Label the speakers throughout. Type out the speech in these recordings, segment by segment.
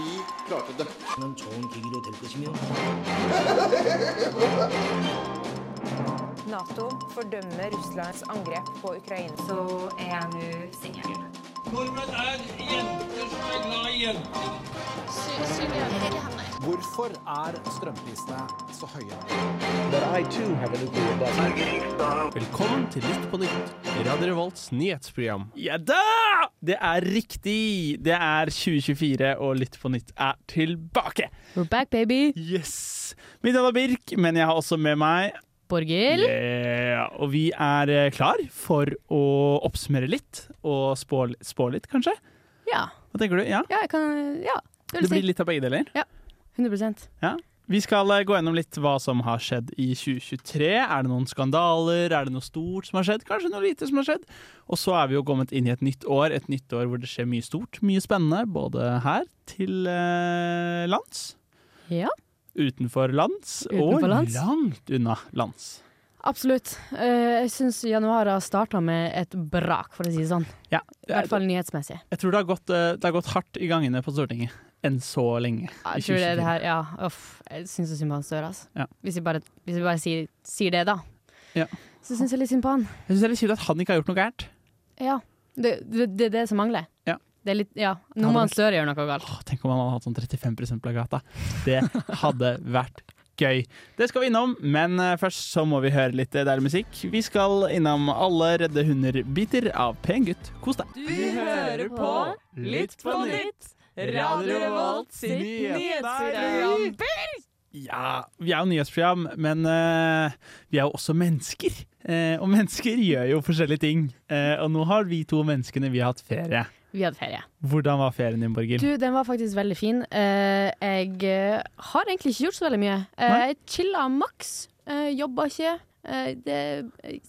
Speaker 1: 이 klarte det.
Speaker 2: 는 좋은 계기로 될 것이며
Speaker 3: Nato fordømmer Russlands angrep på Ukraina.
Speaker 4: så er jeg nå singel.
Speaker 5: Nordmenn er jenter som er glad i jenter.
Speaker 6: Hvorfor er strømprisene så høye?
Speaker 7: Velkommen til Lytt på nytt, Radio Revolts nyhetsprogram.
Speaker 8: Ja da! Det er riktig! Det er 2024, og Lytt på nytt er tilbake.
Speaker 9: We're back, baby.
Speaker 8: Yes! Mitt navn er Birk, men jeg har også med meg
Speaker 9: Borghild.
Speaker 8: yeah. Og vi er eh, klar for å oppsummere litt, og spå, spå litt, kanskje?
Speaker 9: Ja.
Speaker 8: Hva tenker du? Ja?
Speaker 9: ja, jeg kan Ja, det vil
Speaker 8: Det
Speaker 9: si
Speaker 8: blir litt av begge deler.
Speaker 9: 100
Speaker 8: Ja. Vi skal eh, gå gjennom litt hva som har skjedd i 2023. Er det noen skandaler? Er det noe stort som har skjedd? Kanskje noe lite som har skjedd? Og så er vi jo kommet inn i et nytt år, et nytt år hvor det skjer mye stort, mye spennende. Både her til eh, lands,
Speaker 9: Ja,
Speaker 8: utenfor lands
Speaker 9: Utenfor
Speaker 8: og
Speaker 9: lands.
Speaker 8: langt unna lands.
Speaker 9: absolutt. Eh, jeg syns januar har starta med et brak, for å si det sånn.
Speaker 8: Ja,
Speaker 9: I hvert fall nyhetsmessig.
Speaker 8: Jeg tror det har gått, eh, det har gått hardt i gangene på Stortinget enn så lenge.
Speaker 9: Ja,
Speaker 8: i
Speaker 9: Jeg tror det er det
Speaker 8: 2024.
Speaker 9: her, ja, uff, jeg syns så synd på han Støre. ass.
Speaker 8: Ja.
Speaker 9: Hvis vi bare, hvis vi bare sier, sier det, da.
Speaker 8: Ja.
Speaker 9: Så syns jeg litt synd på han.
Speaker 8: Jeg syns det er litt kjipt at han ikke har gjort noe gærent.
Speaker 9: Ja. Det, det, det er det som mangler.
Speaker 8: Ja.
Speaker 9: Det er litt, ja.
Speaker 8: Ja,
Speaker 9: Nå
Speaker 8: det
Speaker 9: må
Speaker 8: var-
Speaker 9: han Støre gjøre noe galt.
Speaker 8: Åh, Tenk om han hadde hatt sånn 35 plagata. Det hadde vært gøy. Det skal vi innom, men eh, først så må vi høre litt eh, deilig musikk. Vi skal innom Alle redde hunder-biter av Pen gutt. Kos deg.
Speaker 9: Du hører på Lytt på nytt, Radio Revolt sitt nyhetsprogram.
Speaker 8: Ja, vi er jo nyhetsprogram, men eh, vi er jo også mennesker. Eh, og mennesker gjør jo forskjellige ting. Eh, og nå har vi to menneskene vi har hatt ferie.
Speaker 9: Vi hadde ferie.
Speaker 8: Hvordan var ferien din, Borghild?
Speaker 9: Du, den var faktisk veldig fin. Eh, jeg eh, har egentlig ikke gjort så veldig mye. Eh,
Speaker 8: Nei.
Speaker 9: jeg chilla maks. Uh, Jobba ikke. Eh, det jeg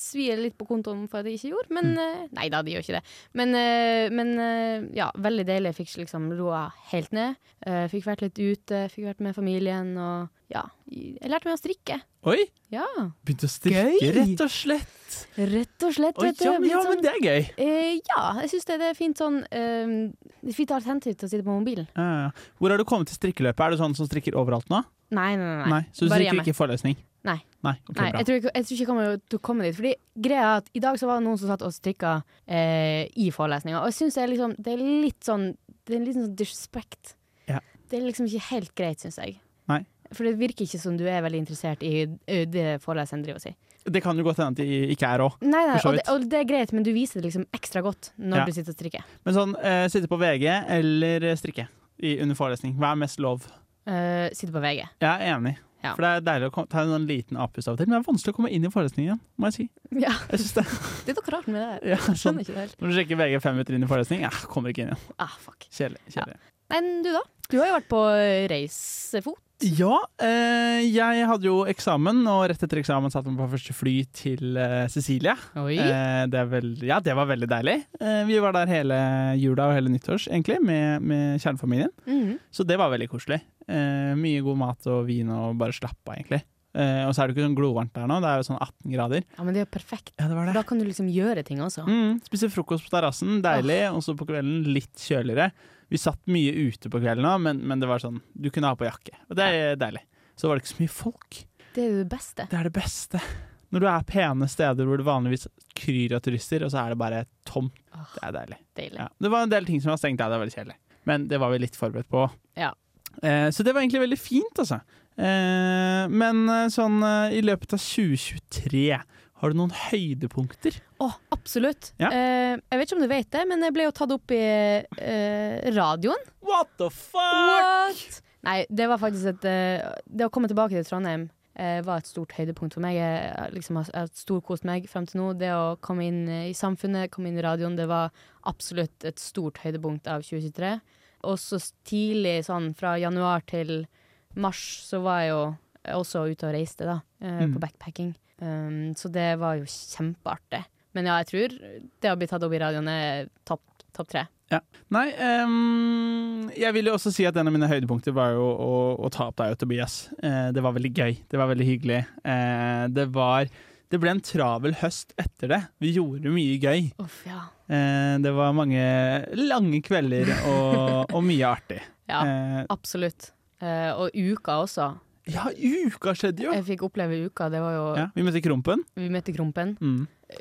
Speaker 9: svir litt på kontoen for at jeg ikke gjorde, men eh, Nei da, det gjør ikke det. Men, eh, men eh, ja, veldig deilig. Jeg fikk liksom roa helt ned. Eh, fikk vært litt ute, fikk vært med familien og ja. Jeg lærte meg å strikke.
Speaker 8: Oi,
Speaker 9: Ja,
Speaker 8: begynte å strikke,
Speaker 9: Gøy.
Speaker 8: rett og slett.
Speaker 9: rett og slett.
Speaker 8: Oi,
Speaker 9: vet du.
Speaker 8: ja, men,
Speaker 9: Blitt
Speaker 8: ja,
Speaker 9: sånn-
Speaker 8: men det er gøy.
Speaker 9: Eh, ja, jeg syns det, det er fint sånn eh, det er Fint alternativ til å sitte på mobilen.
Speaker 8: Ja, ja. Hvor har du kommet til strikkeløpet? Er du sånn som strikker overalt nå?
Speaker 9: Nei, nei, nei. nei.
Speaker 8: Så du
Speaker 9: Bare
Speaker 8: strikker
Speaker 9: hjemme.
Speaker 8: ikke i forelesning?
Speaker 9: Nei.
Speaker 8: Nei, ok,
Speaker 9: Nei,
Speaker 8: bra.
Speaker 9: jeg tror ikke jeg, tror ikke jeg kommer til å komme dit. Fordi greia er at I dag så var det noen som satt og strikka eh, i forelesninga, og jeg syns det, er liksom, det er litt sånn Det er litt sånn disrespect.
Speaker 8: Ja.
Speaker 9: Det er liksom ikke helt greit, syns jeg.
Speaker 8: Nei.
Speaker 9: For det virker ikke som du er veldig interessert i ø, det foreleseren driver og sier.
Speaker 8: Det kan jo godt hende at de ikke er òg.
Speaker 9: Nei, nei,
Speaker 8: For så
Speaker 9: og det,
Speaker 8: vidt.
Speaker 9: og det er greit, men du viser det liksom ekstra godt når
Speaker 8: Ja.
Speaker 9: du sitter og strikker.
Speaker 8: Men sånn, eh, sitte på VG eller strikke i, under forelesning, hva er mest lov?
Speaker 9: Eh, sitter på VG.
Speaker 8: Jeg er enig.
Speaker 9: Ja.
Speaker 8: For det er deilig å kom- ta en sånn liten apus av og til, men det er vanskelig å komme inn i forelesningen igjen, må jeg si.
Speaker 9: Ja,
Speaker 8: Jeg synes det,
Speaker 9: det er noe rart med det der.
Speaker 8: ja, sånn.
Speaker 9: Skjønner ikke det helt.
Speaker 8: Når du sjekker VG fem minutter inn i forelesning, ja, kommer ikke inn igjen.
Speaker 9: Ah, fuck.
Speaker 8: Kjedelig. kjedelig.
Speaker 9: Nei, men du da? Du har jo vært på reisefot.
Speaker 8: Ja, eh, jeg hadde jo eksamen, og rett etter eksamen satte jeg meg på første fly til eh, Sicilia.
Speaker 9: Oi.
Speaker 8: Eh, det er vel, ja, det var veldig deilig. Eh, vi var der hele jula og hele nyttårs, egentlig, med, med kjernefamilien.
Speaker 9: Mm.
Speaker 8: Så det var veldig koselig. Eh, mye god mat og vin og bare slappe av, egentlig. Eh, og så er det ikke sånn glovarmt der nå, det er jo sånn 18 grader.
Speaker 9: Ja, men det er jo perfekt.
Speaker 8: Ja, det var
Speaker 9: For da kan du liksom gjøre ting også.
Speaker 8: Mm, spise frokost på terrassen, deilig. Og så på kvelden litt kjøligere. Vi satt mye ute på kvelden òg, men, men det var sånn, du kunne ha på jakke. Og det er deilig. Så var det ikke så mye folk.
Speaker 9: Det er jo det beste.
Speaker 8: Det er det beste. Når du er pene steder hvor det vanligvis kryr av turister, og så er det bare tomt.
Speaker 9: Åh.
Speaker 8: Det er deilig.
Speaker 9: Deilig.
Speaker 8: Ja. Det var en del ting som var stengt, ja, det var veldig kjedelig. Men det var vi litt forberedt på.
Speaker 9: Ja.
Speaker 8: Eh, så det var egentlig veldig fint, altså. Eh, men eh, sånn eh, i løpet av 2023, har du noen høydepunkter?
Speaker 9: Å, absolutt.
Speaker 8: Ja.
Speaker 9: Eh, jeg vet ikke om du vet det, men jeg ble jo tatt opp i eh, radioen.
Speaker 8: What the fuck?!
Speaker 9: What? Nei, det var faktisk et eh, Det å komme tilbake til Trondheim eh, var et stort høydepunkt for meg. Jeg har liksom, har- har storkost meg frem til nå. Det å komme inn eh, i samfunnet, komme inn i radioen, det var absolutt et stort høydepunkt av 2023. Og så s- tidlig, sånn fra januar til mars, så var jeg jo også ute og reiste, da. eh,
Speaker 8: Mm.
Speaker 9: På backpacking. Um, så det var jo kjempeartig. Men ja, jeg tror det å bli tatt opp i radioen er topp topp tre.
Speaker 8: Nei, ehm, jeg vil jo også si at en av mine høydepunkter var jo å, å ta opp deg og Tobias. Eh, det var veldig gøy. Det var veldig hyggelig. Eh, det var Det ble en travel høst etter det. Vi gjorde mye gøy.
Speaker 9: Uff, ja.
Speaker 8: Eh, Det var mange lange kvelder og, og mye artig.
Speaker 9: Ja.
Speaker 8: Eh,
Speaker 9: Absolutt. Eh, og uka også.
Speaker 8: ja, uka skjedde jo!
Speaker 9: Jeg fikk oppleve uka. Det var jo
Speaker 8: Ja, vi møtte Krompen.
Speaker 9: Vi møtte Krompen.
Speaker 8: Mm.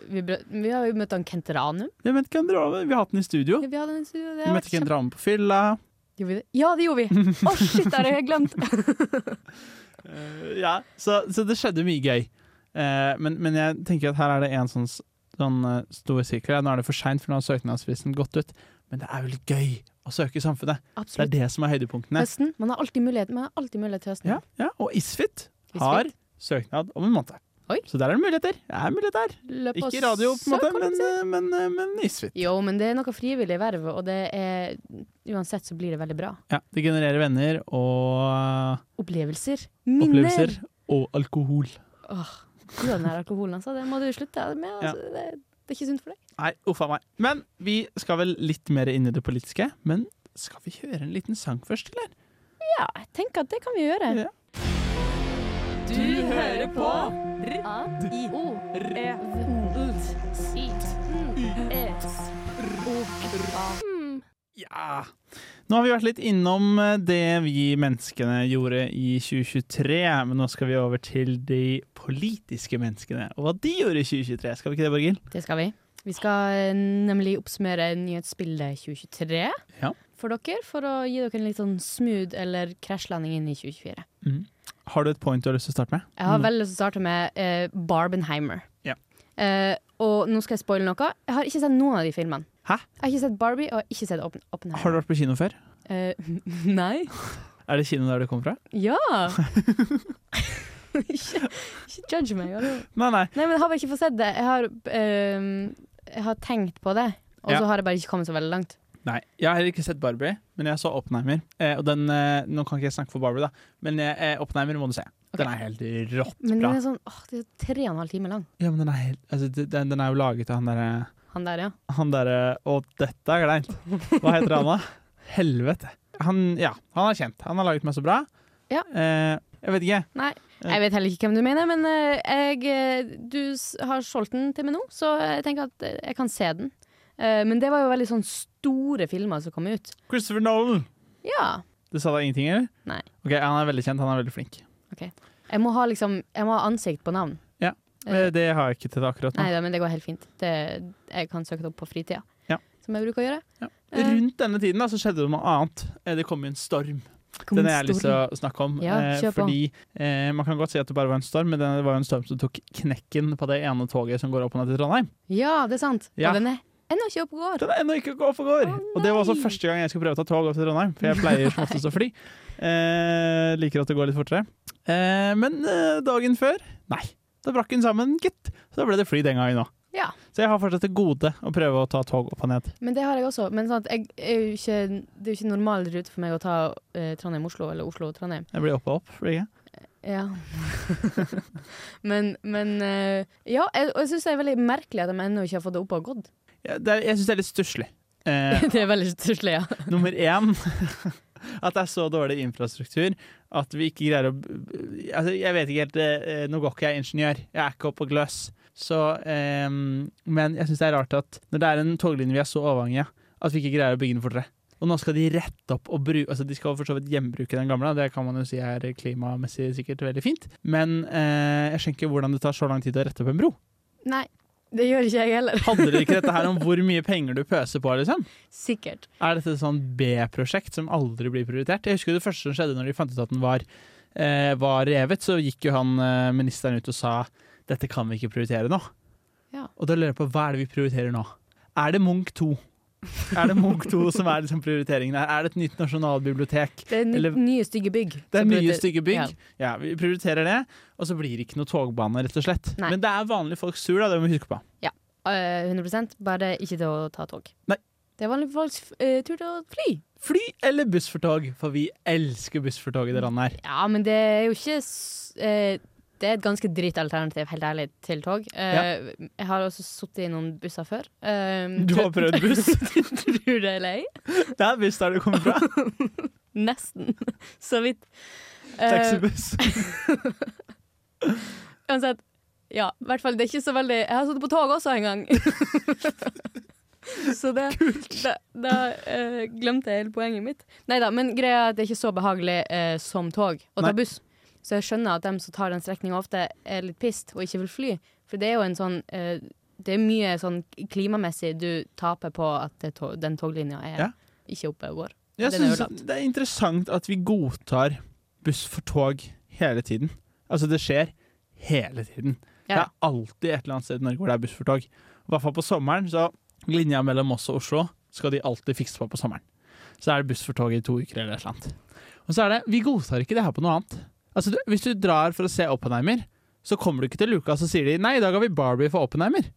Speaker 9: Vi, brø- vi har jo møtt han Kent Ranum.
Speaker 8: Vi, møtte Ken Drame. vi har hatt den i studio.
Speaker 9: Vi hadde en studio. Det
Speaker 8: Vi
Speaker 9: har
Speaker 8: møtte
Speaker 9: vært
Speaker 8: Ken
Speaker 9: kjempe...
Speaker 8: Drame på fylla.
Speaker 9: Gjorde vi det? Ja, det gjorde vi! Å, shit, det har jeg glemt!
Speaker 8: Eh, ja, så, så det skjedde mye gøy. Eh, men, men jeg tenker at her er det en sånn, s- sånn eh, stor sirkel. Ja, Nå er det for seint, for nå har søknadsfristen gått ut. Men det er vel gøy å søke i samfunnet. Det er
Speaker 9: Absolutt.
Speaker 8: det som er høydepunktene.
Speaker 9: Høsten. Man har alltid mulighet, man har alltid mulighet til høsten.
Speaker 8: Ja, ja. Og Isfit
Speaker 9: Isfit.
Speaker 8: har søknad om en måned.
Speaker 9: Oi.
Speaker 8: Så der er det muligheter. Det er muligheter.
Speaker 9: Løp og
Speaker 8: Ikke radio, på en
Speaker 9: søk,
Speaker 8: måte,
Speaker 9: holdt jeg
Speaker 8: men,
Speaker 9: på å si.
Speaker 8: eh, men, eh, men Isfit.
Speaker 9: Jo, men det er noe frivillig verv, og det er Uansett så blir det veldig bra.
Speaker 8: Ja, det genererer venner og eh,
Speaker 9: Opplevelser. Minner.
Speaker 8: opplevelser. Og alkohol.
Speaker 9: Åh, du har den her alkoholen, altså. Det må du slutte med.
Speaker 8: Ja.
Speaker 9: Altså. Det, det er ikke sunt for deg.
Speaker 8: Nei, uff a meg. Men vi skal vel litt mer inn i det politiske. Men skal vi høre en liten sang først, eller?
Speaker 9: Ja, jeg tenker at det kan vi gjøre.
Speaker 8: Ja.
Speaker 9: Du hører på E R-I-O-R-U-S-I-T-E-S-O-K-A.
Speaker 8: Ja. Nå har vi vært litt innom eh, det vi menneskene gjorde i 2023, men nå skal vi over til de politiske menneskene og hva de gjorde i 2023. Skal vi ikke det, Borghild?
Speaker 9: Det skal vi. Vi skal eh, nemlig oppsummere nyhetsbildet 2023
Speaker 8: Ja.
Speaker 9: for dere, for å gi dere en litt sånn smooth eller krasjlanding inn i 2024.
Speaker 8: Har du et point du har lyst til å starte med?
Speaker 9: Jeg har veldig lyst til å starte med eh, Barbenheimer.
Speaker 8: Mm. Ja.
Speaker 9: Eh, og nå skal jeg spoile noe. Jeg har ikke sett noen av de filmene.
Speaker 8: Hæ?
Speaker 9: Jeg har ikke sett Barbie, og jeg har ikke sett Oppen Oppenheimer.
Speaker 8: Har du vært på kino før?
Speaker 9: Eh, nei.
Speaker 8: Er det kino der du kom fra?
Speaker 9: Ja! ikke, ikke judge meg. jeg har-
Speaker 8: Nei, nei.
Speaker 9: Nei, men jeg har bare ikke fått sett det. Jeg har, ehm, jeg har tenkt på det, og
Speaker 8: Ja.
Speaker 9: så har jeg bare ikke kommet så veldig langt.
Speaker 8: Nei, Jeg har heller ikke sett Barbie, men jeg så Oppenheimer. Eh, og den, eh, nå kan ikke jeg snakke for Barbie, da, men eh, Oppenheimer må du se. Den er helt rått
Speaker 9: Men
Speaker 8: bra.
Speaker 9: den er sånn åh, det er tre og en halv time lang.
Speaker 8: Ja, men den er, helt, altså, den, den er jo laget av han derre
Speaker 9: Han der, ja.
Speaker 8: Han derre Å, dette er kleint. Hva heter han, da? Helvete. Han, ja, han er kjent. Han har laget masse bra.
Speaker 9: Ja.
Speaker 8: Eh, jeg vet ikke.
Speaker 9: Nei,
Speaker 8: Ja.
Speaker 9: jeg vet heller ikke hvem du mener, men eh, jeg, eh, du s- har solgt den til meg nå, så jeg tenker at eh, jeg kan se den. Eh, men det var jo veldig sånn store filmer som kom ut.
Speaker 8: Christopher Nolan!
Speaker 9: Ja.
Speaker 8: Det sa deg ingenting, eller?
Speaker 9: Nei.
Speaker 8: Ok, Han er veldig kjent, han er veldig flink.
Speaker 9: Jeg må ha liksom Jeg må ha ansikt på navn.
Speaker 8: Eh, Det har jeg ikke til det akkurat nå.
Speaker 9: Nei da, men det går helt fint. Det, jeg kan søke det opp på fritida,
Speaker 8: Ja.
Speaker 9: som jeg bruker å gjøre. eh.
Speaker 8: Rundt denne tiden da, så skjedde det noe annet. Eh, Det kom jo en storm.
Speaker 9: Kom
Speaker 8: Den
Speaker 9: en
Speaker 8: har jeg lyst til
Speaker 9: stor-
Speaker 8: å snakke om.
Speaker 9: Ja,
Speaker 8: eh,
Speaker 9: kjør på.
Speaker 8: fordi eh, Man kan godt si at det bare var en storm, men det var jo en storm som tok knekken på det ene toget som går opp og ned til Trondheim.
Speaker 9: Ja, det er sant.
Speaker 8: Ja.
Speaker 9: Og den er ennå ikke oppe og går.
Speaker 8: Den er ennå ikke opp og går.
Speaker 9: Å,
Speaker 8: og det var også
Speaker 9: nei.
Speaker 8: første gang jeg skulle prøve å ta tog opp til Trondheim, for jeg pleier som oftest å fly. Eh, liker at det går litt fortere. Eh, men eh, dagen før, nei. Da brakk den sammen, gitt. Så da ble det fly den gangen òg.
Speaker 9: Ja.
Speaker 8: Så jeg har fortsatt til gode å prøve å ta tog opp og ned.
Speaker 9: Men det har jeg også. Men sånn at jeg er jo ikke, det er jo ikke normal rute for meg å ta eh, Trondheim-Oslo eller Oslo-Trondheim.
Speaker 8: Jeg blir opp og opp. Blir jeg? ikke?
Speaker 9: Ja. men men eh, Ja, jeg, og jeg syns det er veldig merkelig at de ennå ikke har fått det opp og gått.
Speaker 8: Ja, det er, jeg syns det er litt stusslig. Eh,
Speaker 9: det er veldig stusslig, ja.
Speaker 8: nummer én at det er så dårlig infrastruktur at vi ikke greier å altså, Jeg vet ikke helt eh, Nå går ikke jeg ingeniør, jeg er ikke oppe på gløss. Så, eh, men jeg syns det er rart at når det er en toglinje vi er så avhengig av, at vi ikke greier å bygge den fortere. Og nå skal de rette opp og bruke altså De skal for så vidt gjenbruke den gamle, det kan man jo si er klimamessig sikkert veldig fint. Men eh, jeg skjønner ikke hvordan det tar så lang tid å rette opp en bro.
Speaker 9: Nei, det gjør ikke jeg heller.
Speaker 8: Handler det ikke dette her om hvor mye penger du pøser på, liksom?
Speaker 9: Sikkert.
Speaker 8: Er dette et sånn B-prosjekt som aldri blir prioritert? Jeg husker det første som skjedde når de fant ut at den var, eh, var revet, så gikk jo han eh, ministeren ut og sa dette kan vi ikke prioritere nå.
Speaker 9: Ja.
Speaker 8: Og da lurer jeg på hva er det vi prioriterer nå? Er det Munch 2? Er det Munch 2 som er liksom prioriteringen her? Er det et nytt nasjonalbibliotek?
Speaker 9: Det er ny,
Speaker 8: Eller-
Speaker 9: nye, stygge bygg.
Speaker 8: Det er
Speaker 9: som
Speaker 8: nye
Speaker 9: blir-
Speaker 8: stygge
Speaker 9: Ja.
Speaker 8: bygg. Ja, vi prioriterer det. Og så blir det ikke noe togbane, rett og slett.
Speaker 9: Nei.
Speaker 8: Men det er vanlige folk sur, da. Det må vi huske på.
Speaker 9: Eh, 100 bare ikke til å ta tog.
Speaker 8: Nei.
Speaker 9: Det er vanlig folks eh, tur til å fly.
Speaker 8: Fly eller buss for tog? For vi elsker buss for tog i det landet her.
Speaker 9: Ja, men det er jo ikke s- eh, Det er et ganske dritt alternativ, helt ærlig, til tog. Eh, Jeg har også sittet i noen busser før. Eh,
Speaker 8: Du har prøvd buss?
Speaker 9: Tror det eller ei?
Speaker 8: Det er buss der du kommer fra.
Speaker 9: Nesten. Så vidt. Eh,
Speaker 8: Taxibuss.
Speaker 9: uansett. Ja, i hvert fall. Det er ikke så veldig Jeg har sittet på tog også en gang. Så det, da, da eh, glemte jeg hele poenget mitt. Nei da, men greia er at det er ikke så behagelig eh, som tog å ta
Speaker 8: Nei.
Speaker 9: buss. Så jeg skjønner at dem som tar den strekninga ofte er litt pissed og ikke vil fly. For det er jo en sånn eh, Det er mye sånn klimamessig du taper på at det tog, den toglinja er
Speaker 8: Ja.
Speaker 9: ikke oppe og går.
Speaker 8: Jeg
Speaker 9: Den er jo
Speaker 8: synes det er interessant at vi godtar buss for tog hele tiden. Altså, det skjer hele tiden.
Speaker 9: Ja.
Speaker 8: Det er alltid et eller annet sted i Norge hvor det er buss for tog. I hvert fall på sommeren, så linja mellom oss og Oslo skal de alltid fikse på på sommeren. Så er det buss for tog i to uker eller et eller annet. Og så er det, vi godtar ikke det her på noe annet. Altså, du, hvis du drar for å se Oppenheimer, så kommer du ikke til Lukas og sier de, nei, i dag har vi Barbie for Oppenheimer.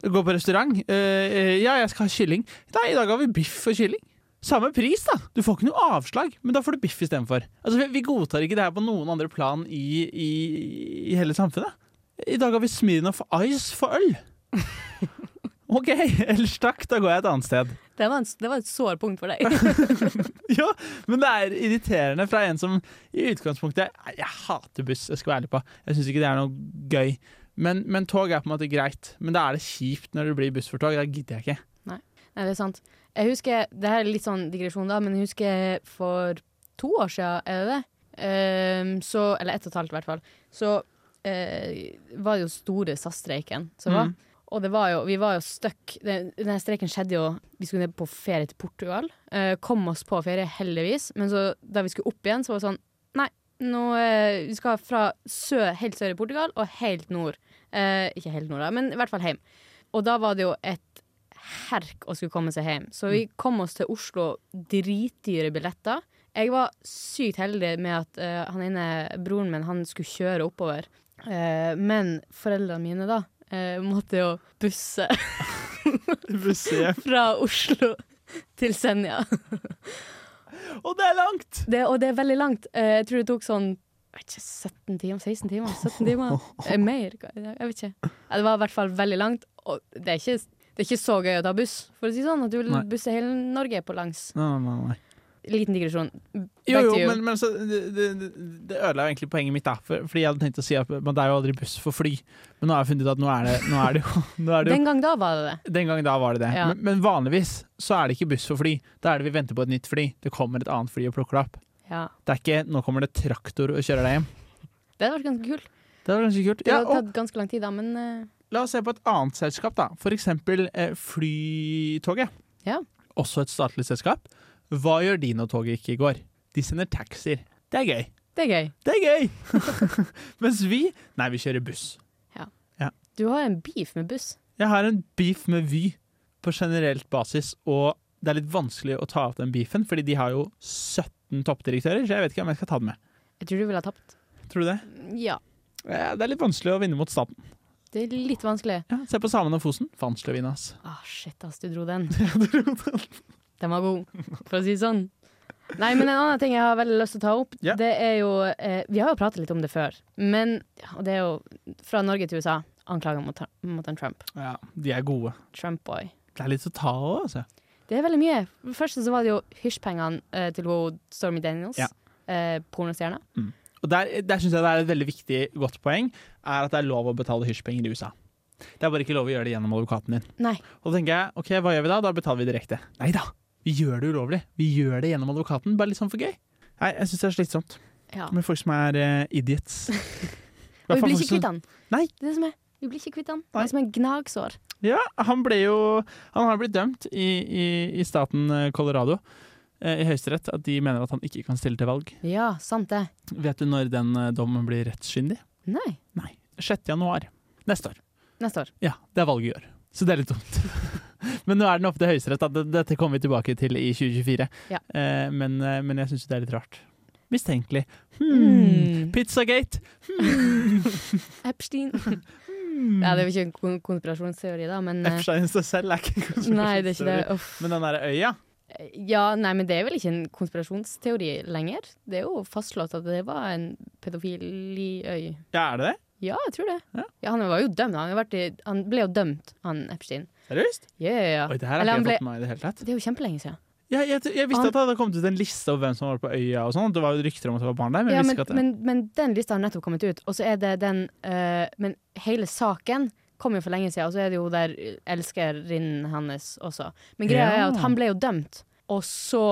Speaker 8: Gå på restaurant. «Eh, eh, ja, jeg skal ha kylling. Nei, i dag har vi biff og kylling. Samme pris, da! Du får ikke noe avslag, men da får du biff istedenfor. Altså, vi, vi godtar ikke det her på noen andre plan i, i, i hele samfunnet. I dag har vi Smirnoff Ice for øl. OK, ellers takk, da går jeg et annet sted.
Speaker 9: Det var, en, s- det var et sår punkt for deg.
Speaker 8: Ja, men det er irriterende fra en som i utgangspunktet Nei, Jeg hater buss, jeg skal være ærlig på. Jeg syns ikke det er noe gøy. Men, men tog er på en måte greit. Men da er det kjipt når det blir buss for tog. Da gidder jeg ikke.
Speaker 9: Nei, det er sant. Jeg husker, det her er litt sånn digresjon da, men jeg husker for to år siden, er det det? Ehm, så, eller ett og et halvt i hvert fall. Så eh, var det jo store SAS-streiken som var.
Speaker 8: Mm.
Speaker 9: Og det var jo, vi var jo støkk. Den, denne streiken skjedde jo, vi skulle ned på ferie til Portugal. Eh, kom oss på ferie heldigvis, men så da vi skulle opp igjen, så var det sånn, nei, nå, eh, vi skal fra sø, helt sør i Portugal og helt nord. Eh, ikke helt nord da, men i hvert fall hjem. Og da var det jo et herk å skulle komme seg hjem. Så vi kom oss til Oslo, dritdyre billetter. Jeg var sykt heldig med at eh, han ene, broren min han skulle kjøre oppover. Eh, men foreldrene mine da eh, måtte jo busse fra Oslo til Senja.
Speaker 8: Og det er langt!
Speaker 9: Det, og det er veldig langt. Eh, jeg tror det tok sånn jeg vet ikke, 17 timer, 16 timer, 17 timer. Eh, mer, hva- jeg vet ikke. Ja, Det var i hvert fall veldig langt. Og det er ikke, det er ikke så gøy å ta buss, for å si det sånn. At du vil
Speaker 8: Nei.
Speaker 9: busse hele Norge på langs.
Speaker 8: Nei, nei, nei.
Speaker 9: Liten digresjon. Back
Speaker 8: Jo, jo,
Speaker 9: to you.
Speaker 8: men, men så, det, det, det- det ødela jo egentlig poenget mitt, da. For, fordi jeg hadde tenkt å si at man, det er jo aldri buss for fly. Men nå har jeg funnet ut at nå er det, nå er det jo, nå er det jo
Speaker 9: Den gang da var det det.
Speaker 8: Den gangen da var det det.
Speaker 9: Ja.
Speaker 8: Men, men vanligvis så er det ikke buss for fly. Da er det vi venter på et nytt fly. Det kommer et annet fly og plukker det opp.
Speaker 9: Ja.
Speaker 8: Det er ikke 'nå kommer det traktor og kjører deg hjem'.
Speaker 9: Det hadde vært ganske kult.
Speaker 8: Det var ganske kult.
Speaker 9: Det
Speaker 8: Ja,
Speaker 9: hadde
Speaker 8: og
Speaker 9: tatt ganske lang tid, da, men eh,
Speaker 8: la oss se på et annet selskap, da. For eksempel eh, Flytoget.
Speaker 9: Ja.
Speaker 8: Også et statlig selskap. Hva gjør de når toget ikke går? De sender taxier. Det er gøy.
Speaker 9: det er gøy.
Speaker 8: Det er gøy! Mens vi Nei, vi kjører buss.
Speaker 9: Du har en beef med buss.
Speaker 8: Jeg har en beef med Vy på generelt basis, og det er litt vanskelig å ta opp den beefen, fordi de har jo 17 toppdirektører, så jeg vet ikke om jeg skal ta den med.
Speaker 9: Jeg tror du ville ha tapt.
Speaker 8: Tror du det?
Speaker 9: Ja.
Speaker 8: Eh, Det er litt vanskelig å vinne mot staten.
Speaker 9: Det er litt vanskelig.
Speaker 8: Ja, se på samene og Fosen. Vanskelig å vinne, ass.
Speaker 9: Ah, shit, ass, du dro den. Den var god, for å si det sånn. Nei, men en annen ting jeg har veldig lyst til å ta opp,
Speaker 8: Ja.
Speaker 9: det er jo eh, Vi har jo pratet litt om det før, men Og det er jo fra Norge til USA. Anklager mot, mot en Trump.
Speaker 8: Ja, de er gode.
Speaker 9: Trump-boy.
Speaker 8: Det er litt å ta av, altså.
Speaker 9: Det er veldig mye. For det første så var det jo hysjpengene eh, til hun Stormy Daniels,
Speaker 8: Ja.
Speaker 9: eh, pornostjerna.
Speaker 8: Og der, der syns jeg det er et veldig viktig, godt poeng, er at det er lov å betale hysjpenger i USA. Det er bare ikke lov å gjøre det gjennom advokaten din.
Speaker 9: Nei.
Speaker 8: Og da tenker jeg, ok, hva gjør vi da? Da betaler vi direkte. Nei da, vi gjør det ulovlig. Vi gjør det gjennom advokaten, bare litt sånn for gøy. Nei, jeg syns det er slitsomt
Speaker 9: Ja.
Speaker 8: med folk som er eh, idiots.
Speaker 9: Og vi blir ikke kvitt han.
Speaker 8: Nei.
Speaker 9: Det er det som er. Vi blir ikke kvitt han. Det
Speaker 8: Nei.
Speaker 9: er som en gnagsår.
Speaker 8: Ja, han ble jo Han har blitt dømt i, i, i staten eh, Colorado, eh, i Høyesterett, at de mener at han ikke kan stille til valg.
Speaker 9: Ja, sant det.
Speaker 8: Vet du når den eh, dommen blir rettskyndig?
Speaker 9: Nei.
Speaker 8: Nei. 6. januar neste år.
Speaker 9: Neste år.
Speaker 8: Ja, det er valget i år. Så det er litt dumt. men nå er den opp til Høyesterett. da. Dette kommer vi tilbake til i 2024.
Speaker 9: Ja.
Speaker 8: Eh, men, eh, men jeg syns det er litt rart. Mistenkelig.
Speaker 9: Mm.
Speaker 8: Hmm. Pizzagate!
Speaker 9: Epstein. Ja, det er jo ikke en kon- konspirasjonsteori, da, men eh,
Speaker 8: Hmm. Epstein i seg selv er ikke en konspirasjonsteori.
Speaker 9: Nei, det er ikke det. Uff.
Speaker 8: Men den derre øya
Speaker 9: Ja, nei, men det er vel ikke en konspirasjonsteori lenger. Det er jo fastslått at det var en pedofil i øy.
Speaker 8: Ja, er det det?
Speaker 9: Ja, jeg tror det.
Speaker 8: Ja.
Speaker 9: Ja, Han var jo dømt. Han, har vært i, han ble jo dømt, han Epstein.
Speaker 8: Seriøst?
Speaker 9: Ja, ja, ja.
Speaker 8: Oi, det her har
Speaker 9: Eller
Speaker 8: ikke
Speaker 9: han
Speaker 8: jeg
Speaker 9: ble-
Speaker 8: fått med meg i det hele tatt.
Speaker 9: Det er jo kjempelenge siden.
Speaker 8: Jeg, jeg, jeg visste
Speaker 9: Han-
Speaker 8: at det hadde kommet ut en liste over hvem som var på øya og sånn. Det var jo rykter om at det var barn der, men
Speaker 9: Ja,
Speaker 8: jeg
Speaker 9: men,
Speaker 8: visste ikke at det
Speaker 9: men, men den lista har nettopp kommet ut, og så er det den eh, Men hele saken kom jo for lenge siden, og så er det jo der elskerinnen hans også. Men greia er
Speaker 8: Ja.
Speaker 9: at han ble jo dømt, og så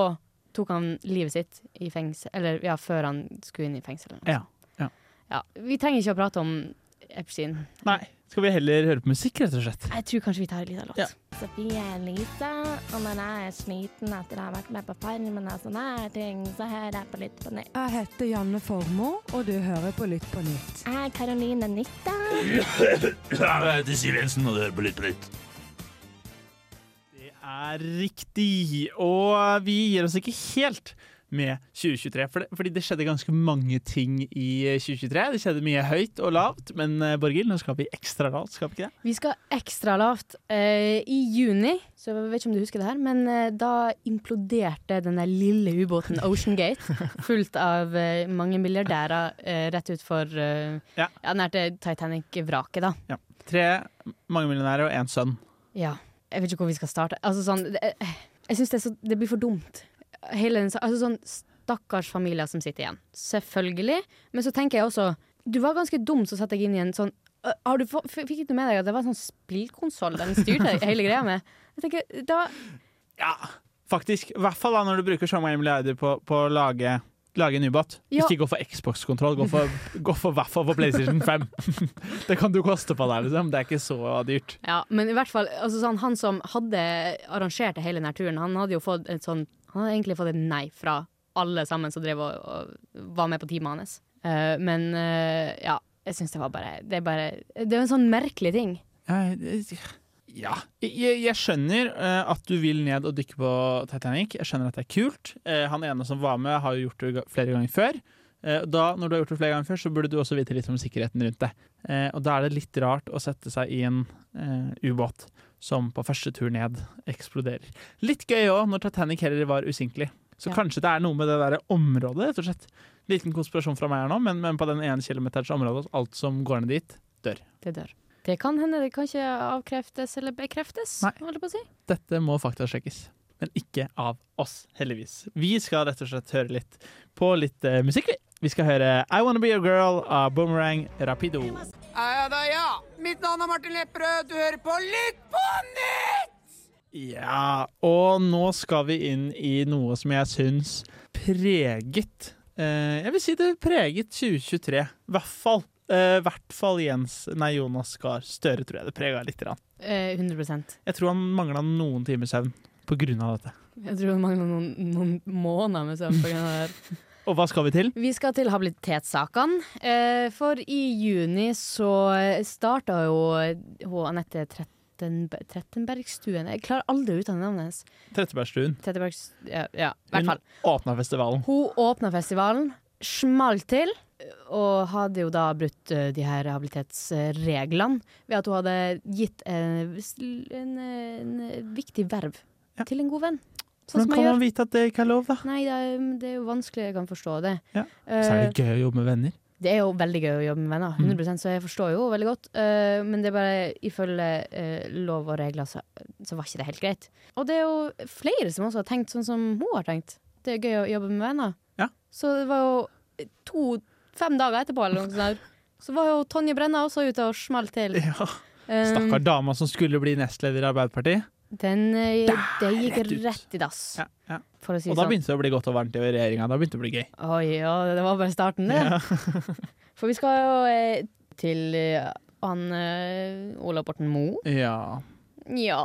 Speaker 9: tok han livet sitt i fengsel, eller ja, før han skulle inn i fengsel. eller noe.
Speaker 8: Ja, ja.
Speaker 9: Ja, vi trenger ikke å prate om Epstein.
Speaker 8: Nei. Skal vi heller høre på musikk, rett og slett?
Speaker 9: Jeg tror kanskje vi tar en liten låt.
Speaker 8: Ja.
Speaker 1: Sofie Elise, og når jeg er sliten etter å ha vært med på Farmen og sånne her ting, så hører jeg på Lytt på nytt.
Speaker 10: Jeg heter Janne Formoe, og du hører på Lytt på nytt.
Speaker 1: Jeg er Karoline Nytta.
Speaker 8: Det er riktig, og vi gir oss ikke helt med 2023, for det, fordi det skjedde ganske mange ting i 2023. Det skjedde mye høyt og lavt, men eh, Borghild, nå skal vi ekstra lavt, skal vi ikke det?
Speaker 9: Vi skal ekstra lavt. Eh, I juni, så jeg vet ikke om du husker det her, men eh, da imploderte den der lille ubåten Ocean Gate, fullt av eh, mange milliardærer eh, rett utfor uh,
Speaker 8: Ja.
Speaker 9: ja. nær til Titanic-vraket, da.
Speaker 8: Tre mangemillionærer og én sønn.
Speaker 9: Ja. Jeg vet ikke hvor vi skal starte. Altså sånn det- eh, Jeg syns det, er så- det blir for dumt. Hele den sa- Altså sånn stakkars familier som sitter igjen. Selvfølgelig. Men så tenker jeg også Du var ganske dum som satte deg inn i en sånn øh, har du, få- f- Fikk du med deg at det var en sånn spillkonsoll den styrte hele greia med? Jeg tenker, da,
Speaker 8: Ja, faktisk. I hvert fall da når du bruker så mange milliarder på, på å lage, lage en ubåt.
Speaker 9: Ja.
Speaker 8: Ikke gå for Xbox-kontroll, gå for gå for i hvert fall for PlayStation 5. det kan du koste på deg, liksom. Det er ikke så dyrt.
Speaker 9: ja, men i hvert fall altså sånn, Han som hadde arrangert det hele denne turen, han hadde jo fått et sånn Han hadde egentlig fått et nei fra alle sammen som drev og, og var med på teamet hans. Eh, men eh, ja, jeg syns det var bare Det er bare Det er en sånn merkelig ting.
Speaker 8: Jeg- jeg- Ja. Jeg, jeg skjønner eh, at du vil ned og dykke på Titanic. Jeg skjønner at det er kult. Eh, han ene som var med, har jo gjort det ga- flere ganger før. Eh, da, når du har gjort det flere ganger før, så burde du også vite litt om sikkerheten rundt det. Eh, og da er det litt rart å sette seg i en eh, ubåt som på første tur ned eksploderer. Litt gøy òg, når Titanic heller var usinkelig. Så
Speaker 9: Ja.
Speaker 8: kanskje det er noe med det der området, rett og slett. Liten konspirasjon fra meg her nå, men, men på den ene kilometers området, altså alt som går ned dit,
Speaker 9: Det dør. Det kan hende. Det kan ikke avkreftes eller bekreftes.
Speaker 8: Nei.
Speaker 9: holdt jeg på å si.
Speaker 8: Dette må faktasjekkes, men ikke av oss, heldigvis. Vi skal rett og slett høre litt på litt eh, musikk. vi. Vi skal høre I Wanna Be Your Girl av Boomerang Rapido.
Speaker 10: Ja da, ja. Mitt navn er Martin Lepperød, du hører på Lytt på nytt!
Speaker 8: Ja, og nå skal vi inn i noe som jeg syns preget eh, Jeg vil si det preget 2023. I hvert fall. eh, hvert fall Jens Nei, Jonas Gahr Støre, tror jeg det prega litt. grann.
Speaker 9: Eh, 100
Speaker 8: Jeg tror han mangla noen timers søvn på grunn av dette.
Speaker 9: Jeg tror det mangler noen, noen måneder med søvn pga. det her.
Speaker 8: Og hva skal vi til?
Speaker 9: Vi skal til habilitetssakene. Eh, for i juni så starta jo hun Anette Trettenberg, Trettenbergstuen Jeg klarer aldri å uttale navnet hennes.
Speaker 8: Trettebergstuen.
Speaker 9: Trettebergs... Ja, ja, i hvert
Speaker 8: Hun
Speaker 9: fall.
Speaker 8: åpna festivalen.
Speaker 9: Hun åpna festivalen, smalt til, og hadde jo da brutt eh, de her habilitetsreglene ved at hun hadde gitt en, en, en viktig verv
Speaker 8: Ja.
Speaker 9: til en god venn. Sånn
Speaker 8: Hvordan
Speaker 9: som
Speaker 8: kan
Speaker 9: jeg
Speaker 8: man
Speaker 9: gjør.
Speaker 8: vite at det ikke er lov, da?
Speaker 9: Nei, det er, det er jo vanskelig, jeg kan forstå det.
Speaker 8: Ja.
Speaker 9: Eh,
Speaker 8: Så er det gøy å jobbe med venner.
Speaker 9: det er jo veldig gøy å jobbe med
Speaker 8: Mm.
Speaker 9: venner, 100 så jeg forstår jo veldig godt. eh, men det er bare ifølge eh, lov og regler så, så var ikke det helt greit. Og det er jo flere som også har tenkt sånn som hun har tenkt. Det er gøy å jobbe med venner.
Speaker 8: Ja.
Speaker 9: Så det var jo to, fem dager etterpå eller noe sånt, der, så var jo Tonje Brenna også ute og smalt til.
Speaker 8: Ja.
Speaker 9: Eh,
Speaker 8: Stakkar dama som skulle bli nestleder i Arbeiderpartiet.
Speaker 9: Den, eh, det gikk
Speaker 8: rett ut.
Speaker 9: rett i dass,
Speaker 8: Ja, ja.
Speaker 9: for å si
Speaker 8: Og
Speaker 9: det
Speaker 8: da
Speaker 9: sånn.
Speaker 8: begynte det å bli godt og varmt i regjeringa. Da begynte det å bli gøy.
Speaker 9: Oi, ja, det var bare starten, det. For vi skal jo eh, til eh, han eh, Ola Borten Moe.
Speaker 8: Ja,
Speaker 9: Ja,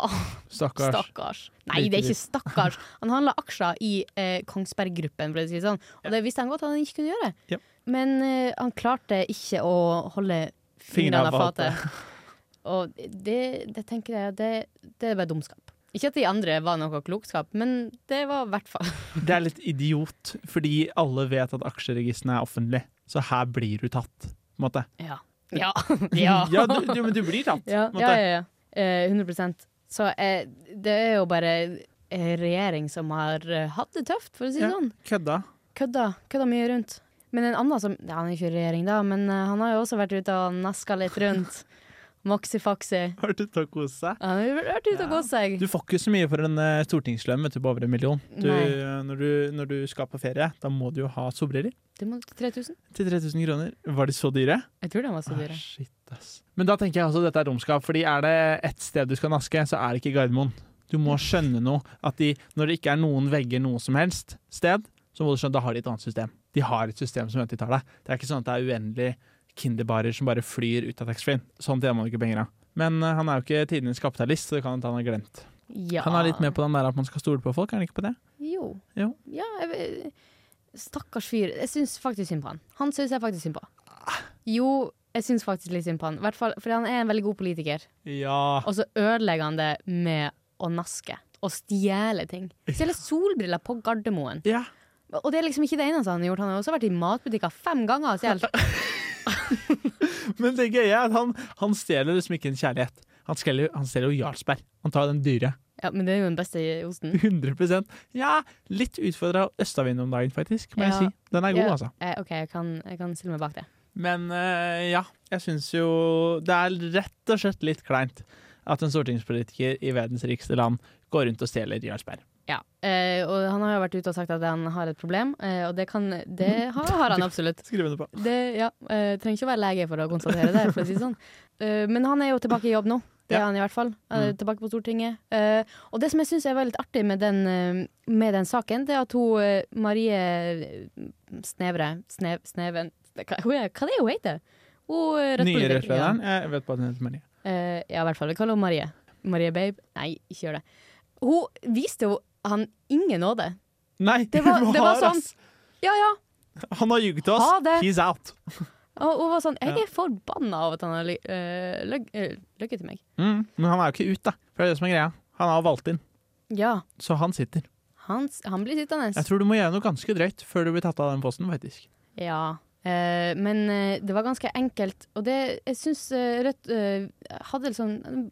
Speaker 8: stakkars.
Speaker 9: stakkars. Nei, det er ikke stakkars. Han handla aksjer i eh, Kongsberg-gruppen, for å si det sånn. Og det visste han godt at han ikke kunne gjøre.
Speaker 8: Ja.
Speaker 9: Men eh, han klarte ikke å holde
Speaker 8: Fingrene av
Speaker 9: fingrene av fatet. Og det, det tenker jeg det, det er bare dumskap. Ikke at de andre var noe klokskap, men det var i hvert fall
Speaker 8: Det er litt idiot, fordi alle vet at aksjeregistrene er offentlige. Så her blir du tatt, på en måte.
Speaker 9: Ja. Ja. ja.
Speaker 8: Ja, du, du, men du blir tatt.
Speaker 9: Ja,
Speaker 8: på en
Speaker 9: ja,
Speaker 8: måte.
Speaker 9: ja, ja. Eh, 100 Så eh, det er jo bare en regjering som har eh, hatt det tøft, for å si det
Speaker 8: Ja.
Speaker 9: sånn.
Speaker 8: Kødda.
Speaker 9: Kødda, kødda mye rundt. Men en annen som ja, Han er ikke i regjering, da, men eh, han har jo også vært ute og naska litt rundt. Moxie-foxie.
Speaker 8: Har du tatt kose seg?
Speaker 9: Han har jo vært ute og gått seg.
Speaker 8: Du får ikke så mye for en eh, stortingslønn vet du, på over en million. Du,
Speaker 9: Nei.
Speaker 8: eh, når, du, når du skal på ferie, da må du jo ha solbriller
Speaker 9: Det må til 3000.
Speaker 8: til 3000 kroner. Var de så dyre?
Speaker 9: Jeg tror den var så
Speaker 8: Ah,
Speaker 9: dyr.
Speaker 8: shit, ass. Men da tenker jeg også at dette er romskap, fordi er det ett sted du skal naske, så er det ikke Gardermoen. Du må skjønne noe. At de, når det ikke er noen vegger noe som helst sted, så må du skjønne at da har de et annet system. De har et system som venter de tar deg. Det er ikke sånn at det er uendelig kinderbarer som bare flyr ut av taxfree-en. Sånn tjener man ikke penger av. Men eh, han er jo ikke tidenes kapitalist, så det kan hende han har glemt.
Speaker 9: Ja.
Speaker 8: Han er litt med på den der at man skal stole på folk, er han ikke på det?
Speaker 9: Jo.
Speaker 8: Jo.
Speaker 9: Ja, jeg, vet- stakkars fyr. Jeg syns faktisk synd på han. Han syns jeg faktisk synd på. Jo, jeg syns faktisk litt synd på han. I hvert fall, fordi han er en veldig god politiker.
Speaker 8: Ja.
Speaker 9: Og så ødelegger han det med å naske. Og stjele ting. Stjele solbriller på Gardermoen.
Speaker 8: Ja.
Speaker 9: Og det er liksom ikke det eneste han har gjort. Han har også vært i matbutikker fem ganger og stjålet.
Speaker 8: Men det gøye er at han, han stjeler liksom ikke en kjærlighet. Han stjeler, han stjeler jo Jarlsberg. Han tar den dyre.
Speaker 9: Ja, men det er jo den beste osten.
Speaker 8: 100 Ja, litt utfordra av østavind om dagen, faktisk. Må
Speaker 9: Ja.
Speaker 8: jeg si. Den er god,
Speaker 9: Ja.
Speaker 8: altså.
Speaker 9: Eh, OK, jeg kan, jeg kan stille meg bak det.
Speaker 8: Men eh, ja, jeg syns jo det er rett og slett litt kleint at en stortingspolitiker i verdens rikeste land går rundt og stjeler Jarlsberg.
Speaker 9: Ja, eh, og han har jo vært ute og sagt at han har et problem, eh, og det, kan, det har, har han absolutt.
Speaker 8: Skriv under på.
Speaker 9: Det, ja, eh, trenger ikke å være lege for å konstatere det. For å si det sånn. Eh, men han er jo tilbake i jobb nå. Det er
Speaker 8: Ja. Mm.
Speaker 9: han i hvert fall. Eh, Tilbake på Stortinget. Eh, og det som jeg syns er veldig artig med den, eh, med den saken, det er at hun eh, Marie Snevre Snev, Sneven hva, hun er- hva er det hun heter? Hun
Speaker 8: Nye
Speaker 9: eh, rødtpolitiker-
Speaker 8: rødtlederen. Jeg vet bare at hun heter Marie.
Speaker 9: Ja. Eh, ja, i hvert fall. Vi kaller henne Marie. Marie Babe. Nei, ikke gjør det. Hun viste jo han ingen nåde.
Speaker 8: Nei,
Speaker 9: Det var-
Speaker 8: hun
Speaker 9: det var
Speaker 8: har, ass.
Speaker 9: Ja, ja,
Speaker 8: Han har ljuget til
Speaker 9: Ha
Speaker 8: oss.
Speaker 9: det.
Speaker 8: He's out.
Speaker 9: Og hun var sånn Jeg
Speaker 8: Ja.
Speaker 9: er forbanna av at han har løy- eh, løy- eh, løyet til meg.
Speaker 8: Mm, men han er jo ikke ut, da. For det er det som er greia. Han har valgt inn,
Speaker 9: Ja.
Speaker 8: så han sitter.
Speaker 9: Han, han blir sittende.
Speaker 8: Jeg tror du må gjøre noe ganske drøyt før du blir tatt av den posten, faktisk.
Speaker 9: Ja. Eh, men eh, det var ganske enkelt, og det, jeg syns Rødt eh, hadde liksom